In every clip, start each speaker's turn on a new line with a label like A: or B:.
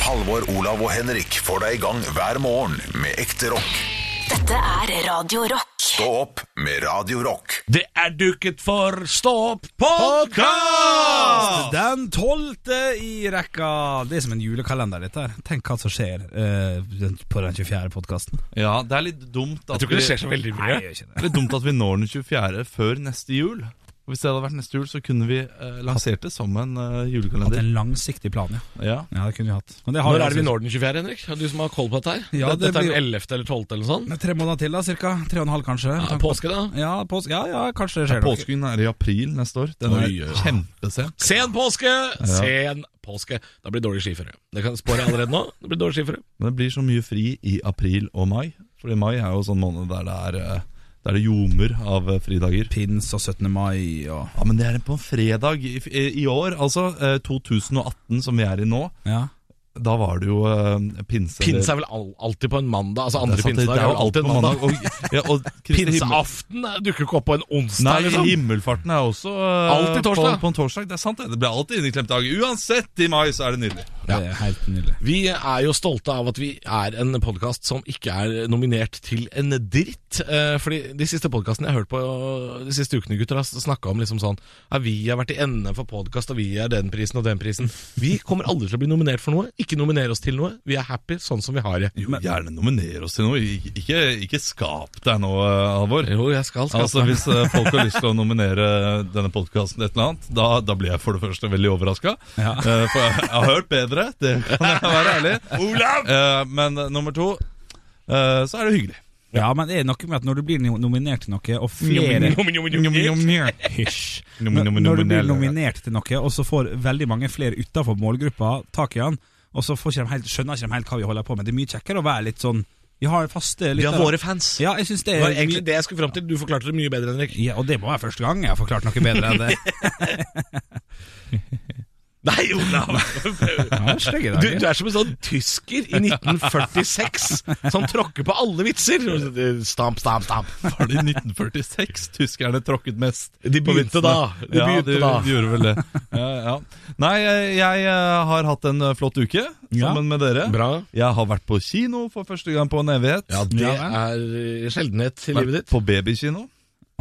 A: Halvor, Olav og Henrik får deg i gang hver morgen med ekte rock.
B: Dette er Radio Rock.
A: Stå opp med Radio Rock.
C: Det er duket for Stå opp podkast!
D: Den tolvte i rekka. Det er som en julekalender, dette her. Tenk hva som skjer eh, på den 24. podkasten.
E: Ja, det er litt dumt at, vi, det
C: så veldig
E: er litt dumt at vi når den 24. før neste jul. Og Hvis det hadde vært neste jul, så kunne vi eh, lansert det som en eh,
D: At det er
E: julekalender.
D: en langsiktig plan, ja.
E: Ja.
D: Ja, det kunne vi hatt. Men det
C: Når er det vi når den 24., Henrik? Du som har koll på dette her.
D: altså- Ja,
C: Dette-
D: det
C: Dette
D: blir-
C: er den 11. eller 12. eller noe sånt.
D: Med tre måneder til, da, cirka. Tre og en halv, kanskje.
C: Ja,
D: Tank-
C: påske, da.
D: Ja, påske. Ja, ja, kanskje det skjer noe.
E: Påsken er i april neste år. Den
C: Oi, ja.
E: er kjempesen.
C: Sen påske! Sen påske. Da blir det dårlig skiføre. Det kan jeg spåre allerede nå. Det blir dårlig skiføre.
E: Men det blir så mye fri i april og mai. Fordi mai er jo sånn måned der det er eh, Der det ljomer av eh, fridager.
D: Pins og 17. mai og
E: Ja, Men det er på en fredag i, i, i år, altså. eh, 2018, som vi er i nå.
D: Ja.
E: Da var det jo eh, pinse. eller-
C: Pinse er vel al alltid på en mandag? Altså
E: Det
C: andre
E: er sant, det-
C: pinsedag
E: det
C: er vel alltid
E: på
C: en mandag.
E: Og, ja, og Kristi himmel-
C: Pinseaften eh, dukker ikke opp på en onsdag.
E: Nei,
C: liksom.
E: himmelfarten er også eh,
C: Alltid torsdag.
E: På, på en torsdag, det er sant det. Det blir alltid inneklemt dag. Uansett, i mai så er det nydelig.
C: Ja.
D: Det er helt nydelig.
C: Vi er jo stolte av at vi er en podkast som ikke er nominert til en dritt. Eh, fordi de siste podkastene jeg har hørt på eh, de siste ukene, gutter, har snakka om liksom sånn ja, Vi har vært i NM for podkast, og vi er den prisen og den prisen. Vi kommer aldri til å bli nominert for noe. Ikke nominere oss til noe. Vi er happy sånn som vi har det.
E: Jo, gjerne nominer oss til noe. Ik- Ikke, ikke skap deg nå, eh, Halvor.
C: Jo, jeg skal, skal
E: Altså, Hvis eh, folk har lyst til å nominere denne podkasten et eller annet, da, da blir jeg for det første veldig overraska.
D: Ja.
E: for jeg, jeg har hørt bedre, det kan jeg være ærlig. Eh, men eh, nummer to, eh, så er det hyggelig.
D: ja, men det er noe med at når du blir no- nominert til noe, og flere Hysj.
E: Nomi- nomi-
D: Når du blir
E: nominell.
D: nominert til noe, og så får veldig mange flere utenfor målgruppa tak i han, og så får ikke de helt, skjønner ikke de helt hva vi holder på med. Det er mye kjekkere å være litt sånn Vi har faste
C: Vi
D: lyttere.
C: er våre fans.
D: Ja, jeg synes det
C: Det
D: er
C: var egentlig
D: mye-
C: det jeg skulle fram til. Du forklarte det mye bedre, Henrik.
D: ja, og det må være første gang jeg har forklart noe bedre enn det.
C: Nei, Olav!
D: Ja, stygg i dag,
C: Du,
D: ja.
C: du er som en sånn tysker i 1946 som tråkker på alle vitser. Stamp, stamp, stamp.
E: Var det i 1946 tyskerne tråkket mest?
C: De
E: på
C: begynte
E: vitsene?
C: da. De
E: ja,
C: begynte
E: de,
C: da.
E: de gjorde vel det. Ja, ja. Nei, jeg, jeg har hatt en eh, flott uke
D: Ja.
E: sammen med dere.
C: Bra.
E: Jeg har vært på kino for første gang på en evighet.
C: Ja, det
D: Ja,
C: er eh, sjeldenhet i livet ditt.
E: På babykino.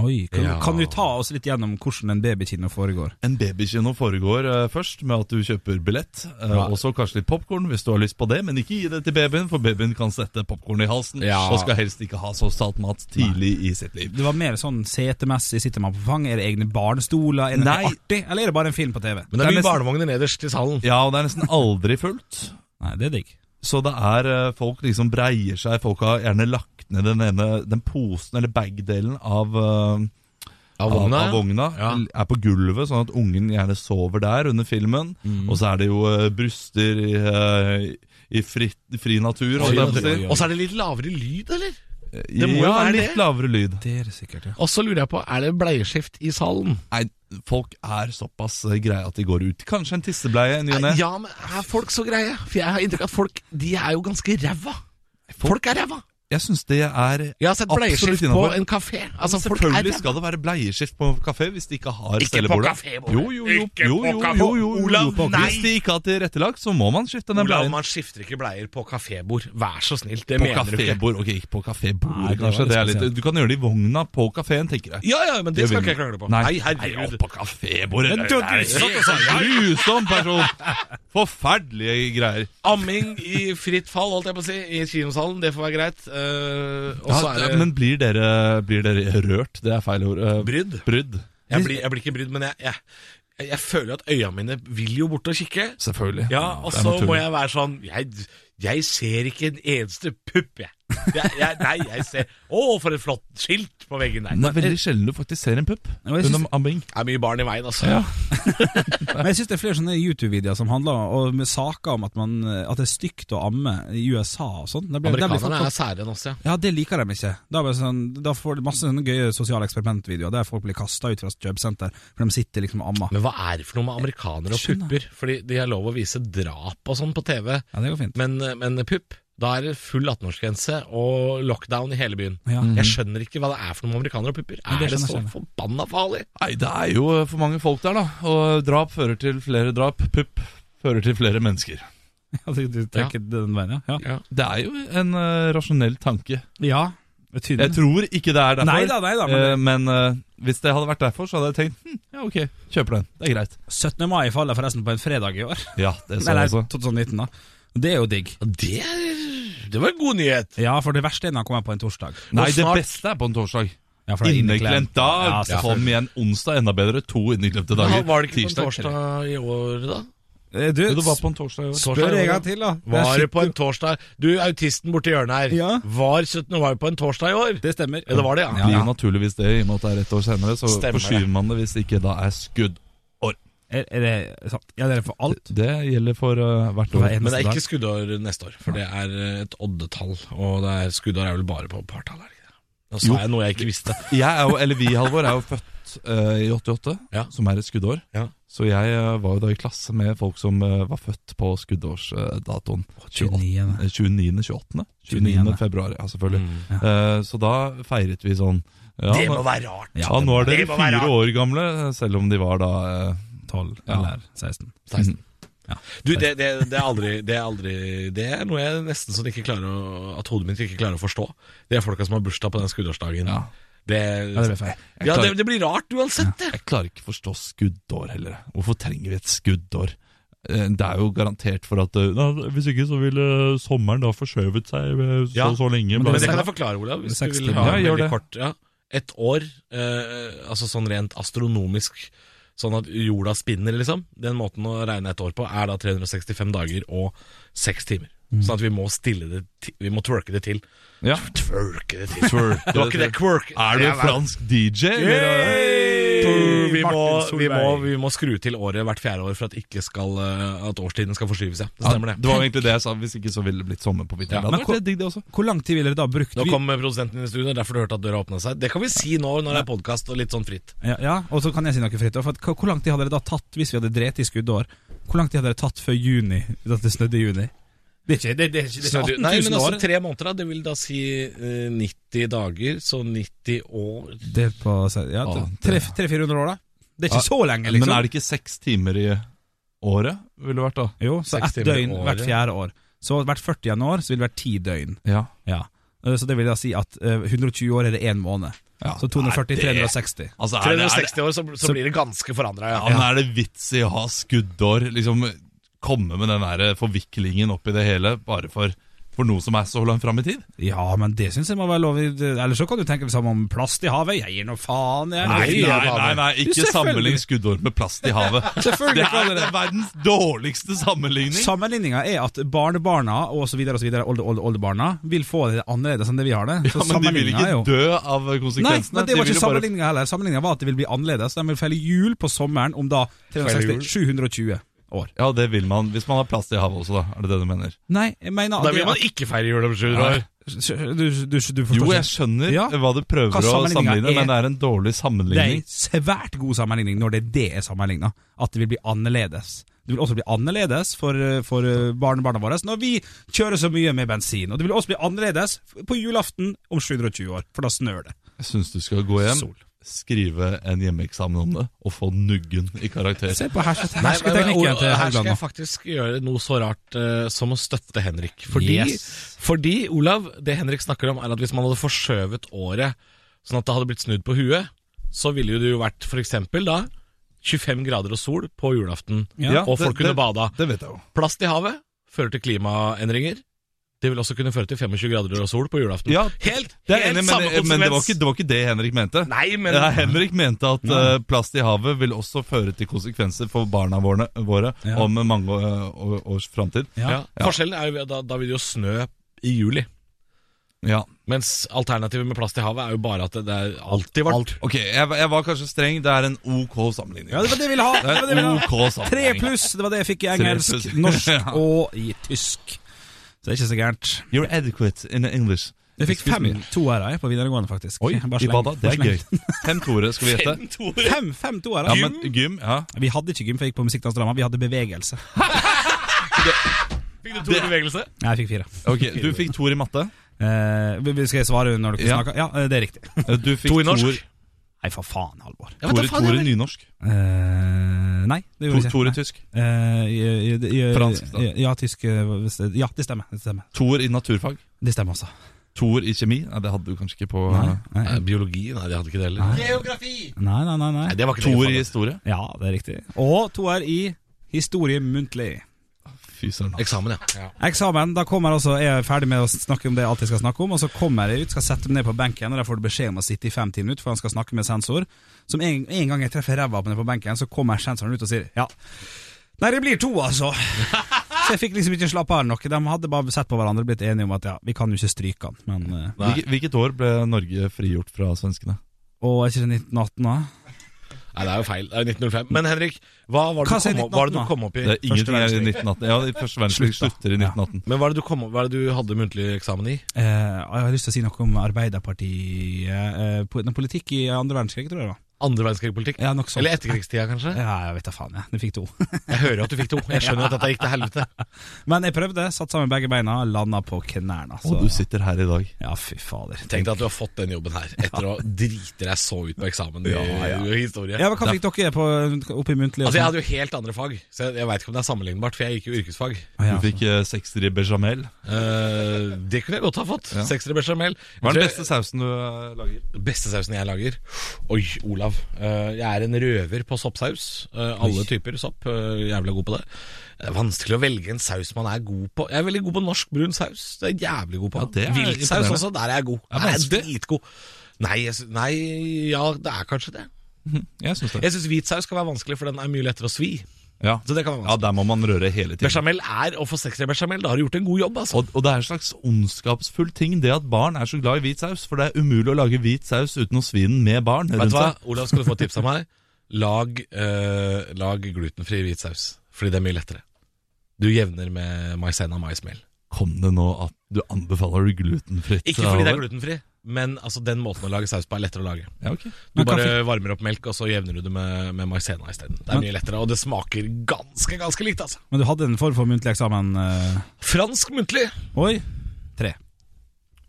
D: Oi, kan,
C: Ja.
D: kan du ta oss litt gjennom hvordan en babykino foregår?
E: En babykino foregår eh, først med at du kjøper billett, eh, og så kanskje litt popkorn hvis du har lyst på det, men ikke gi det til babyen, for babyen kan sette popkorn i halsen
C: Ja.
E: og skal helst ikke ha så salt mat tidlig i sitt liv.
D: Det var mer sånn setemessig, sitter man på fang, er det egne barnestoler, er det
E: Nei.
D: noe artig, eller er det bare en film på TV?
C: Men det er mye
E: nesten-
C: barnevogner nederst i salen.
E: Ja, og det er nesten aldri fullt.
D: Nei, det er digg.
E: Så det er eh, folk liksom breier seg, folk har gjerne lagt ned den ene Den posen eller bagdelen av, eh,
C: Av
E: av,
C: vogna.
E: av vogna.
C: Ja.
E: Er på gulvet, sånn at ungen gjerne sover der under filmen.
C: Mm.
E: Og så er det jo eh, bryster i, eh, i fri, fri natur.
C: Og
E: holdt jeg på å si.
C: og så er det litt lavere lyd, eller?
E: Ja,
C: må jo være det.
E: litt lavere lyd.
D: Det er det sikkert, ja.
C: Og så lurer jeg på, er det bleieskift i salen?
E: Nei, folk er såpass eh, greie at de går ut. Kanskje en tissebleie i ny og ne.
C: Ja, men er folk så greie? For jeg har inntrykk av at folk de er jo ganske ræva. Folk er ræva.
E: Jeg syns det er
C: Jeg har sett
E: Absolutt
C: bleieskift på
E: innenfor.
C: en kafé. Altså, folk er
E: Selvfølgelig
C: ræva.
E: skal det være bleieskift på kafé hvis de ikke har
C: Ikke på
E: stellebordet.
C: kafébordet.
E: Jo, jo, jo,
C: Ikke
E: jo,
C: på
E: jo,
C: kafé-
E: jo, jo, jo,
C: Olav,
E: jo.
C: nei!
E: Hvis de ikke har tilrettelagt, så må man skifte den
C: Olav,
E: bleien.
C: man skifter ikke bleier på kafébord. Vær så snill, det
E: På
C: mener du ikke.
E: kafébord, ok, ikke på
D: Nei,
E: kafébordet
D: det var
E: kanskje.
D: litt
E: Det er litt,
D: spesielt.
E: du kan gjøre det i vogna på kafeen, tenker jeg.
C: Ja, ja, men det skal
E: Det vil-
C: ikke jeg krangle på.
E: Nei.
C: herregud.
E: Nei, på kafébordet.
D: Men
E: Det
D: du-
E: er
D: du satt og
E: helt grusom person. Forferdelige greier.
C: Amming i fritt fall, holdt jeg på å si, i kinosalen. Det får være greit. Eh, og så
E: Ja,
C: er det
E: men blir dere, blir dere rørt? Det er feil ord. Eh,
C: brydd.
E: Brydd.
C: Jeg blir, jeg blir ikke brydd, men jeg, jeg, jeg føler at øya mine vil jo bort og kikke.
E: Selvfølgelig.
C: Ja, og
E: Det er
C: så må
E: naturlig.
C: jeg være sånn Jeg, jeg ser ikke en eneste pupp, jeg. jeg, jeg nei, jeg ser Å, for et flott skilt på veggen der.
E: Det er veldig sjelden du faktisk ser en pupp
D: Og jeg synes-
E: under amming.
C: Det er mye barn i veien, altså.
E: Ja.
D: Men jeg synes det er flere sånne YouTube-videoer som handler om, og med saker om at, man, at det er stygt å amme i USA og sånn. Det blir- det blir folk-
C: Amerikanerne er sære enn oss, ja.
D: Ja, det liker de ikke. Da, blir det sånn, da får de masse sånne gøye sosiale eksperimentvideoer der folk blir kasta ut fra jobbsenter, for de sitter liksom og ammer.
C: Men hva er det for noe med amerikanere og
D: Jeg skjønner.
C: pupper? Fordi de har lov å vise drap og sånn på TV,
D: Ja, det går fint.
C: men, men pupp? Da er det full 18-årsgrense og lockdown i hele byen.
D: Ja.
C: Jeg skjønner ikke hva det er for noe med amerikanere og pupper. Er
D: Nei, Mm. det
C: det,
D: skjønner
C: så
D: jeg ikke.
C: forbanna farlig?
E: Nei, det er jo eh, for mange folk der, da. Og drap fører til flere drap. Pupp fører til flere mennesker.
D: Ja, du, du tenker den veien, ja. Ja,
E: Det er jo en eh, rasjonell tanke.
D: ja
E: Jeg tror ikke det er derfor.
D: Nei da, nei da, men-
E: eh, men eh, hvis det hadde vært derfor, så hadde jeg tenkt hm, ja, ok, kjøper den. Det er greit.
D: 17. mai faller forresten på en fredag i år.
E: Ja, det så
D: Eller
E: jeg også.
D: 2019, da. Det er jo digg.
C: Det, det var en god nyhet.
D: Ja, for det verste er når han kommer på en torsdag.
E: Nei, det
C: snart-
E: beste er på en torsdag.
D: Ja, for det er
E: Inneklemt dag.
D: Ja, selvfølgelig.
E: Kom igjen, onsdag enda bedre. To inneklemte dager.
C: var det ikke på en
E: Tirsdag.
C: torsdag i år, da?
D: Eh, Du,
E: Jo, det var på en torsdag i år.
C: Torsdag i år,
D: spør en
C: da.
D: gang til, da.
C: Var
D: er
C: det på
D: skitt-
C: en torsdag Du, autisten borti hjørnet her.
D: Ja.
C: Var 17. mai på en torsdag i år?
D: Det stemmer.
C: Eller var det, ja?
E: Det blir jo naturligvis det, i og med at det er ett år senere. Så
C: Stemmer det.
E: forskyver man det hvis ikke da er skudd.
D: Er, er det sant? Ja, det er for alt.
E: Det gjelder for eh, hvert
D: Hver
E: år.
D: eneste
C: Men det er
D: dag.
C: ikke skuddår neste år, for det er eh, et oddetall. Og det er, skuddår er vel bare på partall, er det ikke det? Nå sa
E: Jo.
C: jeg noe jeg ikke visste.
E: Jeg er jo, eller vi, Halvor, er jo født eh, i 88,
C: Ja.
E: som er et skuddår.
C: Ja.
E: Så jeg eh, var jo da i klasse med folk som eh, var født på skuddårsdatoen. eh,
D: 29.
E: 29. 28. 29.
D: 29.
E: februar, ja, selvfølgelig. Eh, så da feiret vi sånn ja,
C: Mm. Det må
E: nå-
C: være rart!
E: ja, nå er dere
C: det må være
E: fire år gamle, selv om de var da eh,
D: 12
E: Ja.
D: eller 16.
C: 16.
D: Ja.
C: Du, det, det, det er aldri Det er aldri Det er noe jeg nesten sånn ikke klarer å At hodet mitt ikke klarer å forstå. Det er folka som har bursdag på den skuddårsdagen.
E: Ja.
C: Det,
D: Ja, det ble feil.
C: ja, det,
E: klarer-
C: det blir rart uansett, det.
E: Jeg klarer ikke forstå skuddår heller. Hvorfor trenger vi et skuddår? Eh, Det er jo garantert for at eh, nei, Hvis ikke så ville eh, sommeren da forskjøvet seg eh, så,
C: Ja,
E: så lenge.
D: men
E: bla,
C: Men det
E: bla,
C: kan
E: bla.
C: jeg forklare, Olav. Hvis du
D: 60.
C: vil ha
E: Ja,
C: en
E: gjør
C: veldig
E: det.
C: kort ja. Et år, eh, altså sånn rent astronomisk, sånn at jorda spinner, liksom. Den måten å regne et år på er da 365 dager og 6 timer.
E: Mm.
C: Sånn at vi må stille det til, Vi må twerke det til.
E: Ja.
C: Twerke det til.
E: Twerke
C: Det var ikke det
E: det til.
C: quirk.
E: Er du
C: Ja, vel.
E: fransk DJ?
C: Hey! Vi må,
D: Martin
C: vi, må,
D: Solveig.
C: vi må skru til året hvert fjerde år for at, ikke skal, eh, at årstiden skal forskyve seg. Det
E: Ja,
C: stemmer,
E: det
C: det.
E: var jo egentlig det jeg sa. Hvis ikke så ville det blitt sommer på
C: Ja,
E: vinteren. Ja,
D: men hvor-
E: det digg, det også.
D: Hvor lang tid ville dere da brukt?
C: Nå
D: Vi-
C: kom produsenten inn i studio, derfor du hørte at døra åpna seg. Det kan vi si nå når det er podkast og litt sånn fritt.
D: Ja, ja, og så kan jeg si noe fritt. For at, hva- hvor lang tid hadde dere da tatt hvis vi hadde drept i skuddår? Hvor lang tid hadde dere tatt før juni? At det snødde i juni? Det er ikke, det, det er ikke, det er
C: Nei,
D: ikke 18 000
C: men altså
D: år.
C: tre måneder, da. Det vil da si eh, 90 dager, så 90 år
D: Det er på ja,
E: Ja, det-
D: 300-400 år, da. Det er
E: Ja,
D: ikke så lenge, liksom.
E: Men er det ikke seks timer i året? Ville det vært da?
D: Jo, så
C: Seks
D: ett
C: timer i
D: døgn
C: året.
D: hvert fjerde år. Så hvert 40. januar så vil det være ti døgn.
E: Ja.
D: Ja. Eh, Så det vil da si at eh, 120 år er det én måned.
E: Ja.
D: Så 240-360.
E: Altså, er det, er det,
C: 360 år, så, så blir det ganske forandra,
E: ja,
C: ja.
E: men er det vits i å ha skuddår? Liksom komme med den der forviklingen oppi det hele bare for, for noe som er så langt fram i tid?
D: Ja, men det syns jeg må være lov i Eller så kan du tenke det samme om plast i havet. Jeg gir nå faen, jeg.
E: Nei,
C: det er
E: nei,
C: faen
E: nei,
C: meg.
E: nei ikke
D: Selvfølgelig.
E: sammenlign skuddår med plast i havet.
D: Selvfølgelig
E: Det
D: kan
E: er
D: dere det.
E: verdens dårligste sammenligning.
D: Sammenligninga er at barnebarna og så videre og så videre, olde, olde, oldebarna, vil få det annerledes enn det vi har det.
E: Ja, men
D: Så
E: de vil
D: sammenligninga er
E: ikke
D: jo
E: dø av
D: Nei,
E: konsekvensene.
D: men det var
E: de vil
D: ikke
E: jo bare-
D: sammenligninga heller. Sammenligninga var at det vil bli annerledes. De vil feile jul på sommeren om da 360 720 år.
E: Ja, det vil man. Hvis man har plast i havet også, da. Er det det du mener?
D: Nei, jeg mener
C: Da vil man ikke feire jul om sju år.
D: Du, du, du forstår
E: Jo, jeg
D: ikke.
E: skjønner
D: Ja.
E: hva du prøver
D: Hva
E: å
D: sammenligningen
E: sammenligne,
D: er.
E: men det er en dårlig
D: Det er en
E: sammenligning.
D: svært god sammenligning når det er det er sammenligna. At det vil bli annerledes. Det vil også bli annerledes for, for eh, barnebarna våre når vi kjører så mye med bensin. Og det vil også bli annerledes på julaften om 720 år, for da snør det.
E: Jeg syns du skal gå hjem,
D: Sol.
E: skrive en hjemmeeksamen om det, og få nuggen i karakter.
D: Se på herske-
C: Nei, men- men-
D: hersketeknikken til
C: og- Her skal
D: Haugland.
C: jeg faktisk gjøre noe så rart eh, som å støtte Henrik. Fordi,
D: Yes.
C: fordi, Olav, det Henrik snakker om, er at hvis man hadde forskjøvet året sånn at det hadde blitt snudd på huet, så ville jo det jo vært f.eks. da 25 grader og sol på julaften,
D: Ja,
C: og
E: det-
C: folk kunne
E: det-
C: bada.
E: Det vet jeg jo.
C: Plast i havet fører til klimaendringer. Det vil også kunne føre til 25 grader og sol på julaften.
E: Ja,
C: helt
E: Det er
C: helt
E: enig,
C: samme
E: men,
C: konsekvens!
E: men det, var ikke, det var ikke det Henrik mente.
C: Nei, men
E: Ja, Henrik mente at eh, plast i havet vil også føre til konsekvenser for barna våre, våre
D: Ja.
E: om mange eh, år- års framtid.
D: Ja.
C: ja. Forskjellen er jo da, da vil det jo snø i juli.
E: Ja.
C: Mens alternativet med plast i havet er jo bare at det, det er alltid varmt.
E: Ok, jeg, var- jeg var kanje streng. Det er en ok sammenligning.
D: Ja, det var det jeg ville ha! Det var
E: det
D: det jeg
E: er
D: ville
E: en ok
D: ha. Tre
E: sammenligning.
D: pluss, det var det jeg fikk i engelsk,
E: pluss.
D: norsk
E: Ja.
D: og i tysk. Så det er ikke så gærent.
E: You're adequate in English.
D: Jeg fikk
E: Excuse
D: fem
E: me.
D: toere jeg, på videregående, faktisk.
E: Oi,
D: Jeg bare
E: i
D: sleng-
E: bada. Det
D: bare
E: er
D: sleng-
E: gøy. Fem toere, skal vi gjette.
D: Fem, fem toere.
E: Ja, men gym, ja.
D: Vi hadde ikke gym før jeg gikk på Musikkdansdrama, vi hadde bevegelse.
C: Fikk du to bevegelser?
D: Nei, jeg fikk fire.
E: Ok, Du fikk toer i matte.
D: Eh, vi- vi skal jeg svare når dere
E: Ja.
D: snakker? Ja, eh, det er riktig.
E: Du fikk
C: To i norsk.
E: toer-
D: Nei, for faen, Halvor.
C: Ja,
E: Tore, Tore nynorsk.
D: Eh, nei, det gjorde
E: To-
D: jeg ikke.
E: Tore
D: Nei.
E: tysk.
D: Eh, i- i- i-
E: Fransk, da.
D: Ja, tysk eh, hvis det- Ja, det stemmer. Det stemmer,
E: Tor i naturfag.
D: det stemmer også.
E: Tor i kjemi. Nei, det hadde du kanskje ikke på
D: Nei,
C: Nei,
D: nei,
C: biologi? Nei, det hadde ikke det heller.
D: nei. nei, nei,
C: Nei,
D: nei.
C: det var ikke det,
E: Tor i
C: faen.
E: historie.
D: Ja, det er riktig. Og to er i historie muntlig.
E: Fy søren.
C: Eksamen, ja.
D: Eksamen. Da kommer altså, jeg er ferdig med å snakke om det jeg alltid skal snakke om, og så kommer jeg ut, skal sette meg ned på benken, og der får du beskjed om å sitte i fem timer ut, for han skal snakke med sensor. Som en, en gang jeg treffer ræva på ned på benken, så kommer sensoren ut og sier ja. Nei, det blir to, altså. Så jeg fikk liksom ikke slappe av nok. De hadde bare sett på hverandre og blitt enige om at ja, vi kan jo ikke stryke han, men eh,
C: Nei.
E: Hvilket, hvilket år ble Norge frigjort fra svenskene?
D: Å, er ikke det 1918, da?
C: Nei, det er jo feil. Det er jo 1905. Men Henrik, hva var det,
D: Hva sier
C: du, kom opp, hva var det
D: 1918,
C: du kom opp i?
E: Det er ingenting er i
C: verdenskrig?
E: 1918. Ja, i Første verdenskrig
D: Slutt, da.
E: slutter i
D: Ja.
E: 1918.
C: Men hva er, det du kom, hva er det du hadde muntlig eksamen i?
D: Eh, jeg har lyst til å si noe om Arbeiderpartiet eh, po- nei, Politikk i andre verdenskrig, tror jeg det var.
C: Andre verdenskrig-politikk?
D: Ja, nok sånn. sånt.
C: Eller etterkrigstida, kanskje?
D: Ja, jeg vet da faen, jeg. Du fikk to.
C: Jeg hører jo at du fikk to. Jeg skjønner at dette gikk til helvete.
D: Men jeg prøvde, satt sammen begge beina, landa på knærne.
E: Og du sitter her i dag.
D: Ja, fy fader.
C: Tenk deg at du har fått den jobben her, etter å drite deg så ut på eksamen i i historie.
D: Ja, men Hva fikk dere på, opp i
C: Altså,
D: muntlig? og
C: jeg
D: sånn?
C: hadde jo helt andre fag, så jeg, jeg veit ikke om det er sammenlignbart, for jeg gikk jo yrkesfag.
E: Du
D: sånn? Ja,
E: fikk eh, sekser i bechamel.
C: Eh, det kunne jeg godt ha fått.
E: Ja.
C: Seksere bechamel. Jeg
E: Hva er
C: tror-
E: den beste sausen du eh, lager?
C: beste sausen jeg lager Oi, Olav Eh, Jeg er en røver på soppsaus Eh, Alle typer sopp, eh, jævlig god på det Det er vanskelig å velge en saus man er god på Jeg er veldig god på norsk brun saus Det er jeg jævlig god på
E: Ja, det er
C: Viltsaus
E: imponerende.
C: også, der er jeg god
E: Ja,
C: Der er jeg
E: vanskelig.
C: dritgod Nei, jeg, sy- nei, ja, det er kanskje det
E: Jeg synes det.
C: Jeg synes hvit saus kan være vanskelig For den er mye lettere å svi
E: Ja.
C: Så det kan være
E: ja,
C: vanskelig
E: der må man røre hele tiden.
C: Bechamel er, å få sekser i bechamel Da har du gjort en god jobb, altså
E: Og, og det er en slags ondskapsfull ting, det at barn er så glad i hvit saus. For det er umulig å lage hvit saus uten å svi den med barn.
C: Vet
E: rundt
C: du hva,
E: seg.
C: Olav skal du få et tips av meg Lag, eh, lag glutenfri hvit saus Fordi det er mye lettere Du jevner med maizena og maismel
E: Kom det nå at du anbefaler du glutenfritt?
C: Ikke fordi det er
E: Halvor?
C: glutenfri Men altså, den måten å lage saus på er lettere å lage
E: Ja, ok.
C: Du
D: Men hva
C: bare varmer opp melk Og så jevner du det med, med maizena i stedet Det er
D: Men-
C: mye lettere Og det smaker ganske, ganske likt altså.
D: Men du hadde en form for muntlig eksamen? eh,
C: Fransk muntlig
D: Oi. Tre.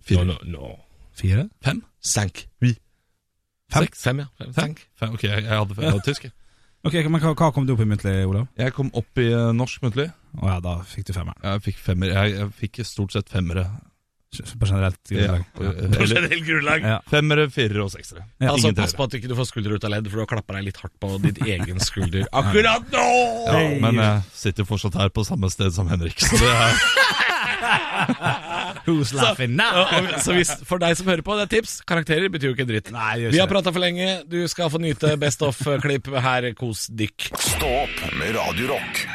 E: Fire.
C: No, no, no.
D: Fire?
E: Fem?
C: Sank
D: Fem?
C: Seks. Fem, ja Fem.
E: Fem?
C: Sank.
E: Fem. Ok, jeg, jeg hadde jeg hadde tysk. jeg.
D: Ok, men hva, hva kom du opp i muntlig, Olav?
E: Jeg kom opp i eh, norsk muntlig.
D: Å ja, da fikk du femmeren.
E: Jeg fikk femmer. Jeg, jeg fikk stort sett femmere.
D: På generelt
E: Ja.
D: grunnlag. Ja.
C: På
E: Eller
C: generell grunnlag
D: Ja.
E: femmere, firere og seksere.
D: Ja.
C: Altså,
E: Ingen
C: pass
E: treere.
C: på at du ikke får skulder ut av ledd For du har klappet deg litt hardt på ditt egen skulder Akkurat nå
E: Ja, men
C: eh,
E: jeg sitter fortsatt her på samme sted som Henrik. Så det er
D: Who's laughing now?
C: Og- og- Så hvis, for deg som hører på, det er tips. Karakterer betyr jo ikke dritt.
D: Nei, det gjør ikke
C: Vi har
D: det.
C: prata for lenge. Du skal få nyte Best of-klipp. Her, kos dykk.
A: Stå opp med Radio Rock.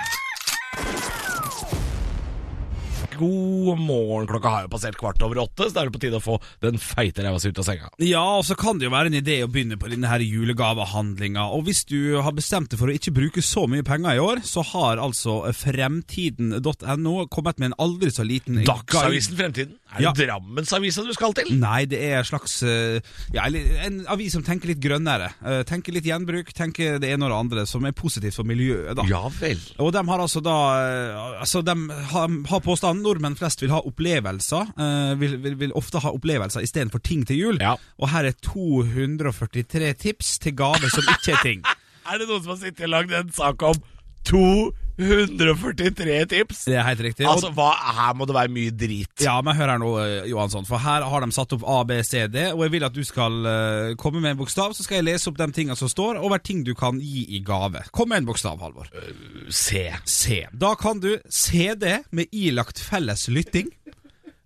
C: God morgen. Klokka har jo passert kvart over åtte, så da er det på tide å få den feite ræva si ut av senga.
D: Ja, og så kan det jo være en idé å begynne på denne her julegavehandlinga. Og hvis du har bestemt deg for å ikke bruke så mye penger i år, så har altså fremtiden.no kommet med en aldri så liten
C: Dagsavisen Fremtiden. Er det
D: Ja.
C: Drammensavisa du skal til?
D: Nei, det er en slags eh, ja, eller En avis som tenker litt grønnere. Eh, Tenker litt gjenbruk, tenker det ene og det andre som er positivt for miljøet. da
C: Ja vel.
D: Og de har altså da eh, Altså, de har, har påstanden nordmenn flest vil ha opplevelser. eh, vil, vil, vil ofte ha opplevelser istedenfor ting til jul.
C: Ja.
D: Og her er 243 tips til gaver som ikke er ting.
C: Er det noen som har sittet og lagd en sak om 243 tips?
D: Det er helt riktig.
C: Altså, hva, her må det være mye drit.
D: Ja, men hør her nå, eh, Johansson. For her har de satt opp A, B, C, D. Og jeg vil at du skal eh, komme med en bokstav, så skal jeg lese opp de tingene som står, over ting du kan gi i gave. Kom med en bokstav, Halvor.
C: Se.
D: C. Da kan du CD med ilagt felles lytting.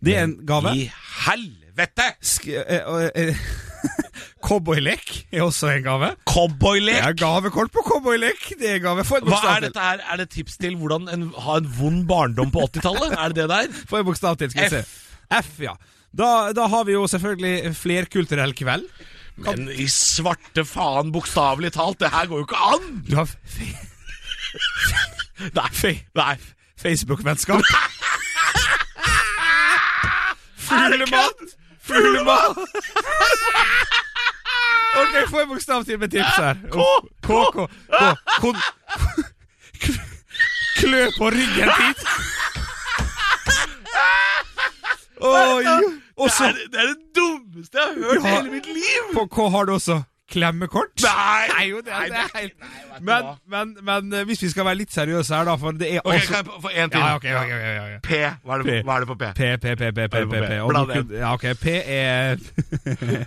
D: Det er en gave.
C: I helvete!
D: Sk eh, eh, eh, Cowboylek er også en gave. Det
C: Cowboylek!
D: er gavekort på cowboylek. Det er gave. Få en
C: Hva
D: bokstav
C: er
D: til.
C: dette her? Er det tips til hvordan en, ha en vond barndom på 80-tallet? Er det det der?
D: Få en bokstav til, skal vi se. F, ja. Da, da har vi jo selvfølgelig flerkulturell kveld.
C: Men i svarte faen, bokstavelig talt, det her går jo ikke an!
D: Du har fe
C: Nei, nei.
D: Facebook-vennskap.
C: Fuglemat!
D: Fuglemat! Ok, få en bokstav til med tips her. K, K, K. Kon K- Klø på ryggen dit. Oi. Og
C: Det
D: så Oh,
C: er, det er det dummeste jeg har hørt i
D: Ja.
C: hele mitt liv!
D: på K har du også klemmekort. Nei! Nei, jo, det, det er helt... men, men, men eh, hvis vi skal være litt seriøse her, da, for det er
F: Ok,
D: også
F: kan jeg få en til?
D: ja, ok, ok, ok, ok, ok.
F: P. Hva er, det,
D: P.
F: hva er det på P?
D: P, P, P, P, P,
F: P,
D: P, P. Og
F: Bla
D: du
F: det.
D: kunne- Ja, ok, P er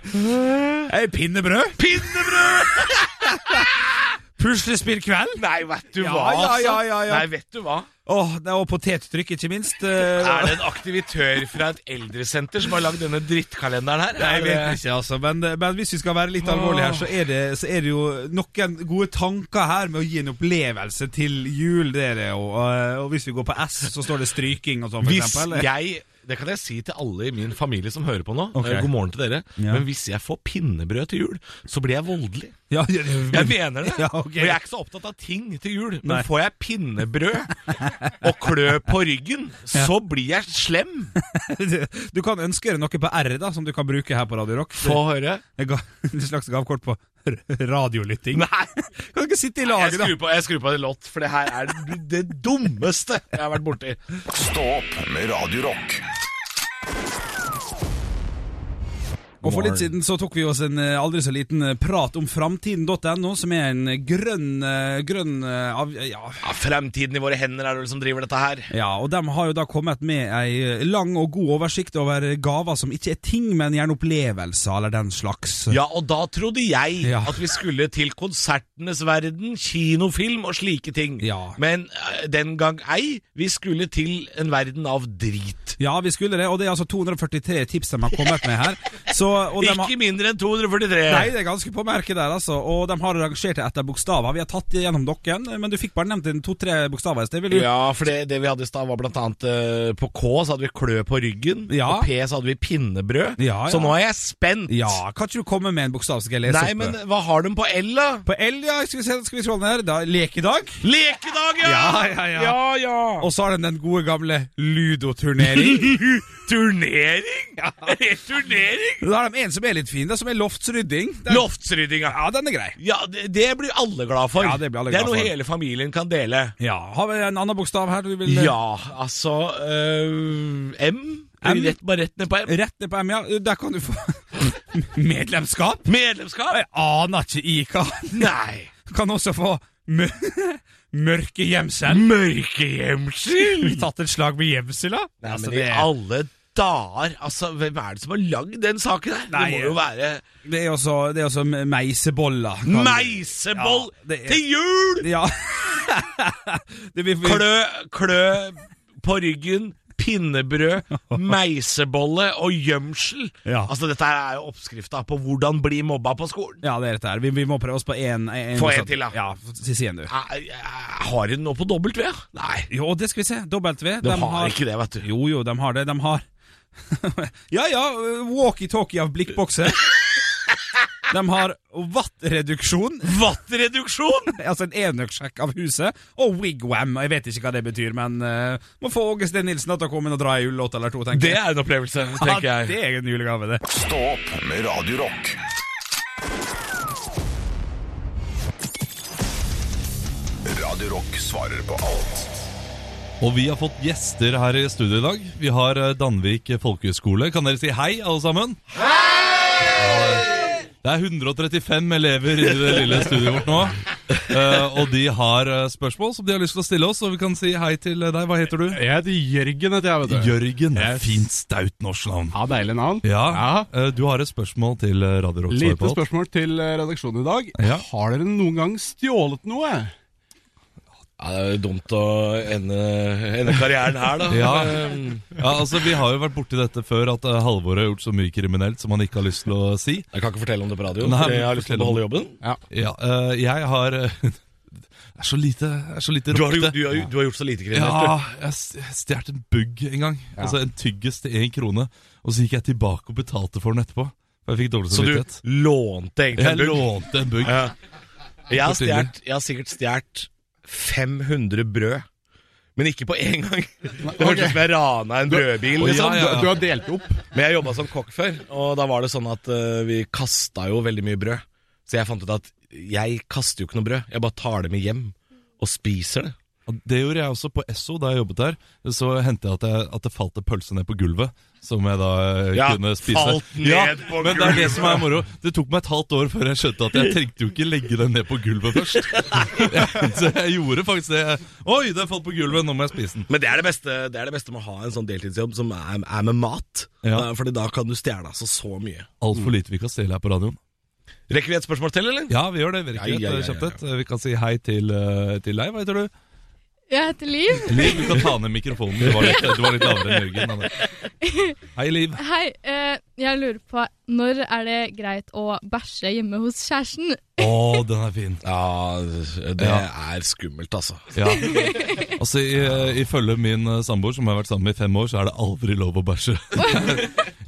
D: Eh, Pinnebrød?
F: Pinnebrød!
D: Puslespillkveld?
F: Nei, vet du
D: Ja,
F: hva,
D: ja,
F: altså.
D: ja, ja, ja.
F: Nei, vet du hva?
D: Åh, det er- og potettrykk, ikke minst. eh,
F: Er det en aktivitør fra et eldresenter som har lagd denne drittkalenderen
D: Nei,
F: her?
D: jeg
F: Er det-
D: vet ikke, altså. Men, men hvis vi skal være litt alvorlige her, så er, det, så er det jo noen gode tanker her med å gi en opplevelse til jul. Det er det jo. Og, og hvis vi går på S, så står det stryking og sånn, for
C: Hvis
D: eksempel.
C: jeg det kan jeg si til alle i min familie som hører på nå.
D: Ok.
C: Eh, God morgen til dere.
D: Ja.
C: Men hvis jeg får pinnebrød til jul, så blir jeg voldelig.
D: Ja, ja, ja,
C: Jeg mener det.
D: Ja, ok.
C: Og jeg er ikke så opptatt av ting til jul. Men
D: Nei.
C: får jeg pinnebrød og klø på ryggen, så blir jeg slem.
D: Du kan ønske deg noe på R, da, som du kan bruke her på Radio Rock.
C: Få høre.
D: Det ga- Et slags gavekort på r- radiolytting.
C: Nei,
D: Kan du ikke sitte i
C: jeg
D: laget, da?
C: skrur på, jeg skrur på en låt, for det her er det dummeste jeg har vært borti.
A: Stå opp med Radio Rock.
D: Og For litt siden så tok vi oss en eh, aldri så liten eh, prat om framtiden.no, som er en grønn, eh, grønn eh, av, ja,
C: Ja, Fremtiden i våre hender er det vel som driver dette her.
D: Ja, og de har jo da kommet med ei eh, lang og god oversikt over gaver som ikke er ting, men gjerne opplevelser eller den slags.
C: Ja, og da trodde jeg
D: Ja.
C: at vi skulle til konsertenes verden, kinofilm og slike ting.
D: Ja.
C: Men eh, den gang ei, vi skulle til en verden av drit.
D: Ja, vi skulle det, og det er altså 243 tips de har kommet med her. Så, og de har,
C: Ikke mindre enn 243.
D: nei, det er ganske på merket der, altså. Og de har rangert det etter bokstaver. Vi har tatt gjennom noen, men du fikk bare nevnt en to-tre bokstaver i sted. Vil du?
C: Ja, for det, det vi hadde i stad var blant annet eh, På K så hadde vi klø på ryggen.
D: Ja.
C: På P så hadde vi pinnebrød.
D: Ja, ja.
C: Så nå er jeg spent.
D: Ja, kan ikke du komme med en bokstav, så skal jeg lese
C: Nei, men
D: opp?
C: hva har de på L, da?
D: På L, ja, skal vi, se, skal vi scrolle ned. Da, lekedag.
C: Lekedag,
D: Ja, ja, ja.
C: ja, ja.
D: Og så har den den gode gamle ludoturnering.
C: Turnering? Er det turnering?
D: da har de en som er litt fin, da, som er loftsrydding. Den,
C: Loftsryddinga.
D: ja, den er grei.
C: Ja, det, det blir alle glad for.
D: Ja, det blir alle glad
C: er noe
D: for.
C: hele familien kan dele.
D: Ja, Har vi en annen bokstav her? Du vil
C: Ja, altså øh, M.
D: M?
C: Rett, bare rett ned på M.
D: Rett ned eh, på MIA. Der kan du få medlemskap.
C: Medlemskap?
D: Jeg aner ikke i hva.
C: Nei.
D: Kan også få mø mørke gjemsel.
C: Mørkehjemsel?
D: Vi tatt et slag med Altså, gjemsela?
C: Nei, men i alle dager Altså, hvem er det som har lagd den saken her?
D: Nei,
C: det må jo være
D: det er også, det er også meiseboller. kan-
C: meiseboll
D: Ja, det er-
C: til jul!
D: Ja. det blir for...
C: Klø, klø på ryggen, pinnebrød, meisebolle og gjemsel.
D: Ja.
C: Altså, dette her er jo oppskrifta på hvordan bli mobba på skolen.
D: Ja, det er dette her. Vi, vi må prøve oss på én.
C: Få en til, da.
D: Ja, si si en, du.
C: Jeg, jeg, har hun noe på dobbelt V? Nei,
D: Jo, det skal vi se. W.
C: de, har, ikke det, vet du.
D: Jo, jo, de har det. De har Ja, ja, walkietalkie av blikkbokser. De har wattreduksjon,
C: Vattreduksjon!
D: altså en enøksjekk av huset, og wigwam. Jeg vet ikke hva det betyr, men eh, må få Åge Steen Nilsen da til å komme inn og dra ei julelåt eller to, tenker
C: Det
D: jeg.
C: er en opplevelse, tenker
D: ja,
C: jeg.
D: det er en julegave, det.
A: Stå opp med Radio Rock. Radio Rock svarer på alt.
E: Og vi har fått gjester her i studio i dag. Vi har eh, Danvik folkehøgskole. Kan dere si hei, alle sammen? Hei! Det er 135 elever i det lille studioet vårt nå. Eh, og de har eh, spørsmål som de har lyst til å stille oss, og vi kan si hei til eh, deg. Hva heter du?
G: Jeg heter Jørgen, heter jeg, vet du.
E: Jørgen.
G: Yes.
E: Fint staut norsk navn.
G: Ja, Deilig navn.
E: Ja, eh, du har et spørsmål til eh, Radio Rock. svarer
G: Lite
E: på alt.
G: spørsmål til eh, redaksjonen i dag.
E: Ja.
G: Har dere noen gang stjålet noe?
C: Ja, det er jo dumt å ende, ende karrieren her, da.
E: Ja.
C: Um,
E: Ja, altså Vi har jo vært borti dette før, at eh, Halvor har gjort så mye kriminelt som han ikke har lyst til å si.
C: Jeg kan ikke fortelle om det på radio,
E: Nei,
C: for jeg har
E: men
C: lyst til å
E: fortell om
C: beholde jobben.
E: Ja, eh, jeg har eh, Det er så lite, det er så lite
C: Du har,
E: råkte.
C: jo- du, har, jo- du har gjort så lite kriminelt. du.
E: Ja, jeg s- jeg stjal en bugg en gang. Altså En tyggis til én krone. Og så gikk jeg tilbake og betalte for den etterpå. For jeg fikk dårlig
C: Så du
E: samvittighet.
C: lånte egentlig
E: Jeg
C: en bugg?
E: lånte en bugg.
C: Ja. Jeg har,
E: Fortydelig.
C: stjert, jeg har sikkert stjålet 500 brød. Men ikke på én gang. Det hørtes ut som jeg rana en brødbil.
E: Å, ja,
C: Liksom.
E: ja, ja.
G: Du har delt opp.
C: Men jeg jobba som kokk før, og da var det sånn at eh, vi kasta jo veldig mye brød. Så jeg fant ut at jeg kaster jo ikke noe brød, jeg bare tar det med hjem og spiser det.
E: Og Det gjorde jeg også på Esso da jeg jobbet der. Så hendte jeg at, jeg at det falt en pølse ned på gulvet, som jeg da eh,
F: Ja,
E: kunne spise.
F: falt ned på
E: men det er det
F: gulvet.
E: som er moro. Det tok meg et halvt år før jeg skjønte at jeg trengte jo ikke legge den ned på gulvet først. så jeg gjorde faktisk det. Jeg- Oi, den falt på gulvet, nå må jeg spise den.
C: Men det er det, beste, det er det beste med å ha en sånn deltidsjobb som er, er med mat.
E: Ja.
C: Eh, Fordi da kan du stjele altså så mye.
E: Altfor lite vi kan stille her på radioen.
C: Rekker vi et spørsmål til, eller?
E: Ja, vi gjør det. Vi,
C: Ja, ja, ja, ja, ja.
E: vi kan si hei til, eh, til deg. Hva heter du?
H: Jeg heter Liv.
E: Liv, du kan ta ned mikrofonen. Du var litt, du var litt lavere enn Jørgen. Anne. Hei, Liv.
H: Hei, eh, jeg lurer på når er det greit å bæsje hjemme hos kjæresten?
E: Å, den er fin.
C: Ja, det
E: Ja.
C: er skummelt, altså.
E: Ja. Altså, i- Ifølge min eh, samboer, som har vært sammen i fem år, så er det aldri lov å bæsje.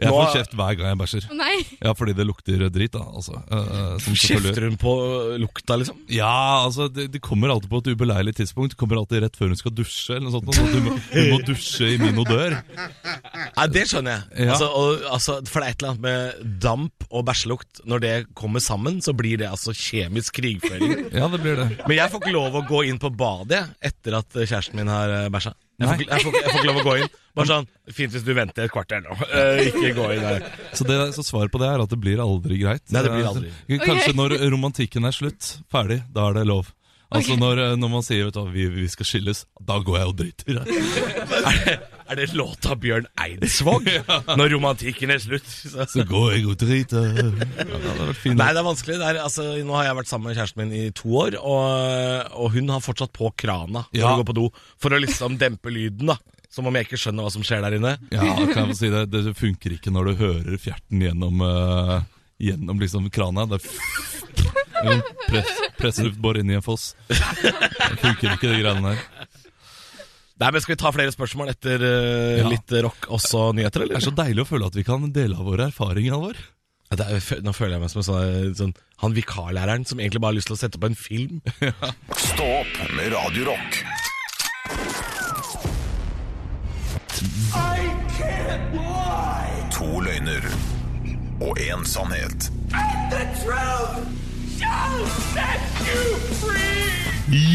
E: Jeg får kjeft hver gang jeg bæsjer.
H: Å nei,
E: Ja, fordi det lukter drit, da. Altså. Eh, som selvfølgelig-
C: Kjefter hun på lukta, liksom?
E: Ja, altså, det, det kommer alltid på et ubeleilig tidspunkt. Det kommer alltid rett før hun skal dusje, eller noe sånt. Så du, må, du må dusje i min odør.
C: Ja, det skjønner jeg.
E: Ja.
C: Altså, og, altså, for det er et eller annet med damp og bæsjelukt. Når det kommer sammen, så blir det altså kjemisk krigføring.
E: Ja, det blir det.
C: Men jeg får ikke lov å gå inn på badet jeg, etter at kjæresten min har eh, bæsja. Jeg får,
E: Nei.
C: ikke- jeg, får, ikke- jeg får ikke lov å gå inn. Bare sånn Fint hvis du venter et kvarter nå. Eh, ikke gå inn der.
E: Så, det, så svaret på det er at det blir aldri greit.
C: Nei, det blir aldri.
E: Eh, Kanskje
H: Ok.
E: når romantikken er slutt, ferdig, da er det lov. Altså
H: Ok.
E: når, eh, når man sier vet du, hva, vi, vi skal skilles, da går jeg og driter.
C: Er det låta Bjørn Eidsvåg? Når romantikken er slutt. Så.
E: Så går jeg og driter. Ja, det hadde vært fint.
C: Nei, det er vanskelig. Det er, altså, nå har jeg vært sammen med kjæresten min i to år, og, og hun har fortsatt på krana når
E: Ja.
C: hun går på do, for å liksom dempe lyden, da. Som om jeg ikke skjønner hva som skjer der inne.
E: Ja, kan jeg få si det, det funker ikke når du hører fjerten gjennom, eh, gjennom liksom krana. Det er f- en press, pressluftbor inn i en foss. Det funker ikke, de greiene der.
C: Nei, men Skal vi ta flere spørsmål etter eh,
E: Ja.
C: litt rock også nyheter,
E: Det
C: eller?
E: er så deilig å føle at vi kan dele av våre erfaringer, Alvor.
C: Ja, det er, fø- nå føler jeg meg som en sånn, sånn, han vikarlæreren som egentlig bare har lyst til å sette opp en film.
A: Stå opp med Radio Rock. To løgner og én sannhet.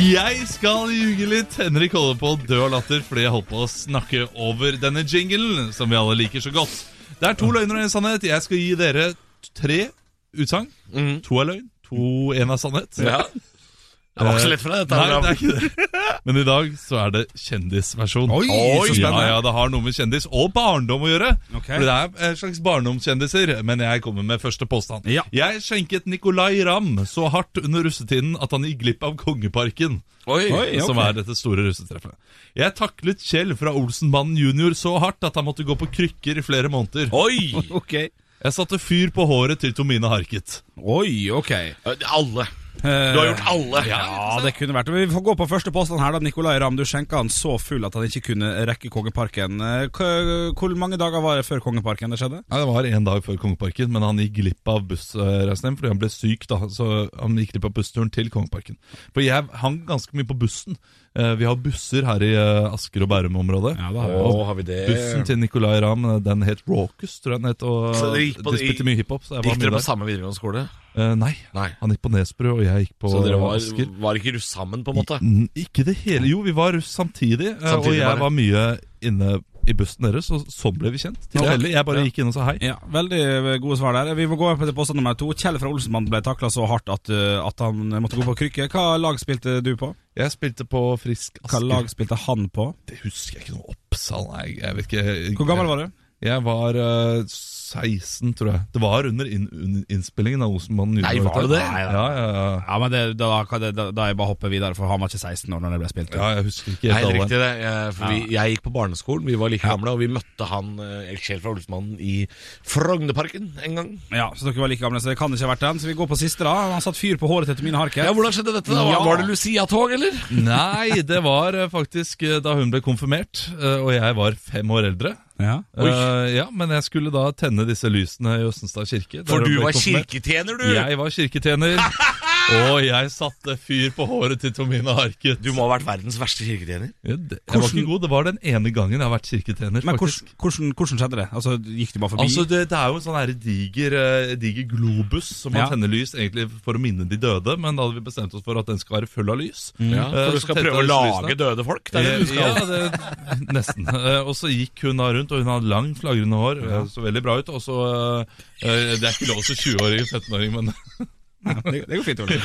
E: Jeg skal ljuge litt. Henrik holder på å dø av latter fordi jeg holdt på å snakke over denne jinglen, som vi alle liker så godt. Det er to løgner og en sannhet. Jeg skal gi dere tre utsagn. To er løgn, to én er sannhet.
C: Mhm. Det var ikke så lett for deg, dette.
E: Nei,
C: Abraham.
E: det er ikke det. Men i dag så er det kjendisversjon.
D: Oi, så spennende.
E: Ja, ja, Det har noe med kjendis og barndom å gjøre.
D: Ok.
E: For Det er en slags barndomskjendiser, men jeg kommer med første påstand.
D: Ja.
E: Jeg skjenket Nicolay Ramm så hardt under russetiden at han gikk glipp av Kongeparken.
D: Oi, ok.
E: Som er dette store russetreffet. Jeg taklet Kjell fra Olsenbanden junior så hardt at han måtte gå på krykker i flere måneder.
C: Oi!
D: Ok.
E: Jeg satte fyr på håret til Tomine harket.
D: Oi, ok.
C: Alle. Du har gjort alle.
D: Eh, Ja, det kunne vært det. Men Vi får gå på første påstand her, da. Nicolay Ramm, du skjenka han så full at han ikke kunne rekke Kongeparken. Eh, k- Hvor mange dager var det før Kongeparken det skjedde?
E: Nei, Det var én dag før Kongeparken, men han gikk glipp av bussreisen hjem fordi han ble syk. da Så han gikk glipp av bussturen til Kongeparken. For jeg hang ganske mye på bussen. Eh, Vi har busser her i eh, Asker og Bærum-området.
D: Ja, da har vi.
E: Og
C: har vi det.
E: Bussen til Nicolay Ramm, eh, den het Raucus, tror jeg den het. Og
C: Så det gikk på-
E: de spilte mye hiphop. så jeg var
C: Gikk dere
E: mye
C: på samme videregående skole?
E: der. Eh, Nei.
C: Nei.
E: Han gikk på Nesbru, og jeg gikk på
C: Så dere var,
E: Asker.
C: var ikke russ sammen, på en måte?
E: N- Ikke det hele Jo, vi var samtidig, eh, og
C: Samtidig
E: jeg
C: bare.
E: var mye inne i bussen deres, og sånn ble vi kjent. Tilfeldig. Jeg bare
C: Ja.
E: gikk inn og sa hei.
D: Ja, Veldig eh, gode svar der. Vi må gå på til påstand nummer to. Kjell fra Olsenmannen ble takla så hardt at, uh, at han måtte gå på krykke. Hva lag spilte du på?
E: Jeg spilte på Frisk
D: Hva
E: Asker.
D: lag spilte han på?
E: Det husker jeg ikke noe Oppsal, nei, jeg vet ikke
D: Hvor gammel var du?
E: Jeg var eh, 16, tror jeg Det var under inn- un- innspillingen av Osenmannen
C: Nei, var det det? Nei,
E: Ja, ja, ja
D: Ja, men det, da, kan det- da, da jeg bare hopper videre, for han var ikke 16 år når det ble spilt.
E: ja, jeg husker ikke
C: Det er
E: helt
C: helt
E: alle
C: riktig, det. Jeg, for vi, jeg gikk på barneskolen, vi var like gamle, og vi møtte han eh, Kjell fra Olsmannen i Frognerparken en gang.
D: Ja, Så dere var like gamle, så det kan ikke ha vært den. Så vi går på siste, da. Han satte fyr på håret til Tomine Harket.
C: Ja, Hvordan skjedde dette? da?
D: Ja.
C: Var det Lucia-tog, eller?
E: Nei, det var eh, faktisk eh, da hun ble konfirmert eh, Og jeg var fem år eldre
D: Ja.
E: Eh, ja, men jeg skulle da tenne disse lysene i Østenstad kirke der
C: For
E: hun
C: du
E: ble
C: var
E: konfirmert.
C: kirketjener, du!
E: Jeg var kirketjener Og jeg satte fyr på håret til Tomine Harket.
F: Du må ha vært verdens verste kirketjener.
E: Ja, det- Jeg var ikke god. Det var den ene gangen jeg har vært kirketjener.
D: Men
E: faktisk.
D: hvordan, hvordan, hvordan skjedde det? Altså, Gikk du bare forbi?
E: Altså, det, det er jo en sånn her diger, eh, diger globus som man
D: Ja.
E: tenner lys egentlig for å minne de døde, men da hadde vi bestemt oss for at den skal være full av lys.
C: Mm.
F: Ja,
E: Eh,
F: for du
E: så
F: skal
E: tente
F: prøve å
E: jeg lyslysene.
F: lage døde folk? Det er det du skal.
E: Eh, Ja, det, nesten. Eh, Og så gikk hun da rundt, og hun hadde langt, flagrende hår. eh, Så veldig bra ut. Og så eh, eh, Det er ikke lov å si 20-åring, 17-åring, men
D: det, det går fint. Ole.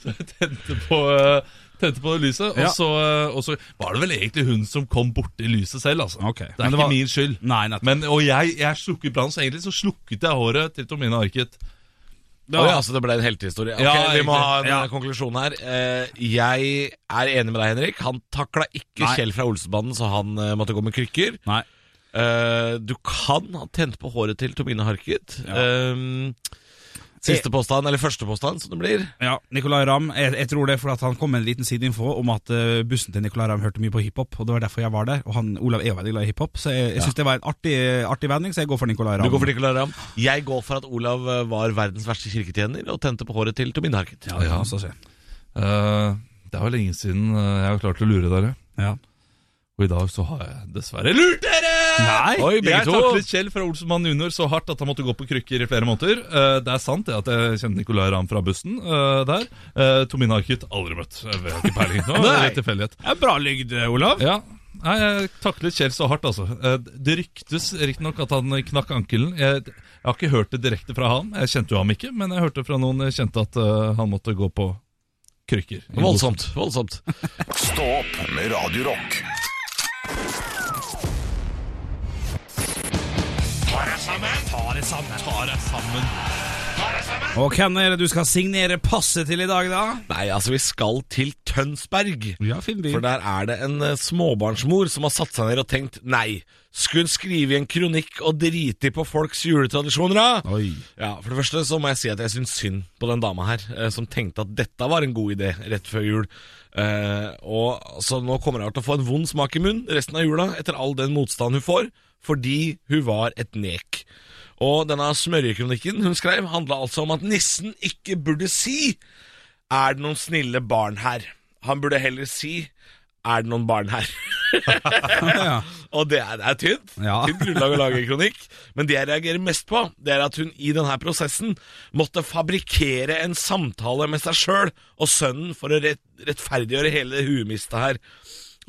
E: tente på, eh, tente på det lyset. Og,
D: Ja.
E: så, eh, og så var det vel egentlig hun som kom borti lyset selv, altså.
D: Ok,
E: Det er
D: men det
E: ikke
D: var-
E: min skyld.
D: Nei, nettopp.
E: Men, og jeg, jeg slukket brannen, så egentlig så slukket jeg håret til Tomine Arket.
C: Oi, altså det ble en heltehistorie. Ok,
E: Ja,
C: vi må ha en
E: egentlig. Ja.
C: eh, konklusjon her. Eh, jeg er enig med deg, Henrik. Han takla ikke
D: Nei.
C: Kjell fra Olsenbanden, så han eh, måtte gå med krykker.
D: Nei.
C: Eh, du kan ha tent på håret til Tomine Harket. Ehm, siste
D: Eh.
C: påstand, eller første påstand, som det blir.
D: Ja, Nicolay Ramm. Jeg, jeg tror det er fordi at han kom med en liten sideinfo om at eh, bussen til Nicolay Ramm hørte mye på hiphop, og det var derfor jeg var der. Og han, Olav er jo veldig glad i hiphop, så jeg, jeg synes det var en artig, artig vending, så jeg går for Nicolay Ramm.
C: Du går for Nicolai Ramm. Jeg går for at Olav eh, var verdens verste kirketjener og tente på håret til Tomine Harket.
D: Ja, ja, så å si.
E: Eh, det er jo lenge siden eh, jeg har klart å lure dere.
D: Ja.
E: Og i dag så har jeg dessverre lurt dere!
D: Nei!
C: Oi, begge
E: jeg
C: to.
E: taklet Kjell fra Olsenmann junior så hardt at han måtte gå på krykker i flere måneder. Eh, det er sant det at jeg kjenner Nicolay Ramm fra bussen eh, der. Eh, Tomine Arkut aldri møtt. Jeg vet ikke peiling nå. Det er litt tilfeldighet.
D: Det er bra lygd, Olav.
E: Ja. Nei, jeg taklet Kjell så hardt, altså. Eh, Det ryktes riktignok at han knakk ankelen. Jeg, jeg har ikke hørt det direkte fra han. Jeg kjente jo ham ikke, men jeg hørte fra noen jeg kjente at eh, han måtte gå på krykker.
C: Voldsomt. voldsomt
A: Stå opp med Radio Rock.
D: Og hvem er det du skal signere passet til i dag, da?
C: Nei, altså, vi skal til Tønsberg.
D: Ja, fin
C: For der er det en eh, småbarnsmor som har satt seg ned og tenkt Nei, skulle hun skrive i en kronikk og drite i på folks juletradisjoner da?
D: Oi.
C: Ja, For det første så må jeg si at jeg syns synd på den dama her, eh, som tenkte at dette var en god idé rett før jul. Eh, og Så nå kommer hun til å få en vond smak i munnen resten av jula etter all den motstand hun får, fordi hun var et nek. Og denne smørjekronikken hun skrev, handla altså om at nissen ikke burde si er det noen snille barn her? Han burde heller si er det noen barn her?
D: Ja.
C: Og det er, det er tynt.
D: Ja.
C: Tynt grunnlag å lage en kronikk. Men det jeg reagerer mest på, det er at hun i denne prosessen måtte fabrikkere en samtale med seg sjøl og sønnen for å rett, rettferdiggjøre hele huemistet her.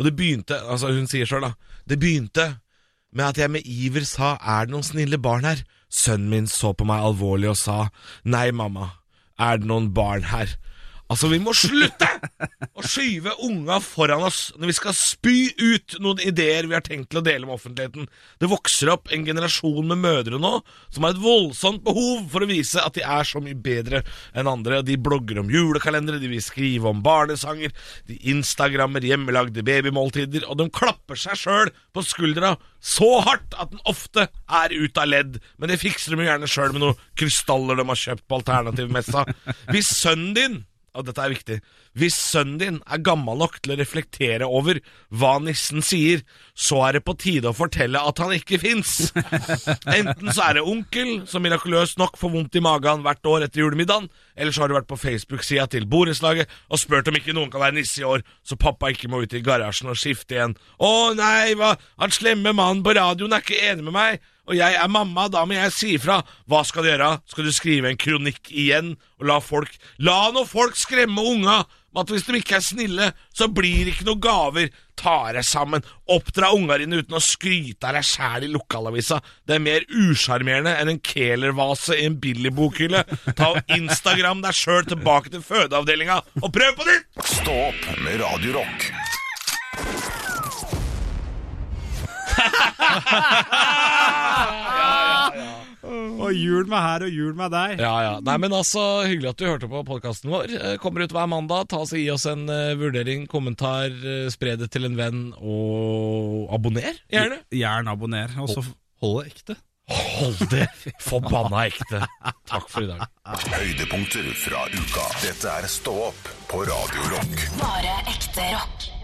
C: Og det begynte Altså, hun sier sjøl, da. Det begynte med at jeg med iver sa 'er det noen snille barn her'? Sønnen min så på meg alvorlig og sa 'nei, mamma, er det noen barn her'? Altså, vi må slutte å skyve unga foran oss når vi skal spy ut noen ideer vi har tenkt til å dele med offentligheten. Det vokser opp en generasjon med mødre nå som har et voldsomt behov for å vise at de er så mye bedre enn andre. De blogger om julekalendere, de vil skrive om barnesanger, de instagrammer hjemmelagde babymåltider, og de klapper seg sjøl på skuldra så hardt at den ofte er ut av ledd. Men det fikser de jo gjerne sjøl med noen krystaller de har kjøpt på alternativmessa. Hvis sønnen din og dette er viktig Hvis sønnen din er gammel nok til å reflektere over hva nissen sier, så er det på tide å fortelle at han ikke fins. Enten så er det onkel, som mirakuløst nok får vondt i magen hvert år etter julemiddagen, eller så har du vært på Facebook-sida til borettslaget og spurt om ikke noen kan være nisse i år, så pappa ikke må ut i garasjen og skifte igjen. Å nei, hva? Han slemme mannen på radioen er ikke enig med meg. Og jeg er mamma, da må jeg si ifra. Hva skal du gjøre? Skal du skrive en kronikk igjen og la folk La nå folk skremme unga med at hvis de ikke er snille, så blir det ikke noen gaver. Ta deg sammen. Oppdra unga dine uten å skryte av deg sjæl i lokalavisa. Det er mer usjarmerende enn en Kæler-vase i en Billy-bokhylle. Ta og Instagram deg sjøl tilbake til fødeavdelinga, og prøv på nytt!
A: Stå opp med Radio Rock.
D: Og jul med her og jul med deg.
C: Ja, ja. Nei, men altså, hyggelig at du hørte på podkasten vår. Eh, Kommer ut hver mandag. Ta oss og Gi oss en eh, vurdering, kommentar, eh, spre det til en venn, og abonner gjerne.
D: Gjerne abonner. Og så
E: Holde ekte.
C: Hold det forbanna ekte. Takk for i dag.
A: Høydepunkter fra uka. Dette er Stå opp på Radio Rock.
B: Bare ekte rock.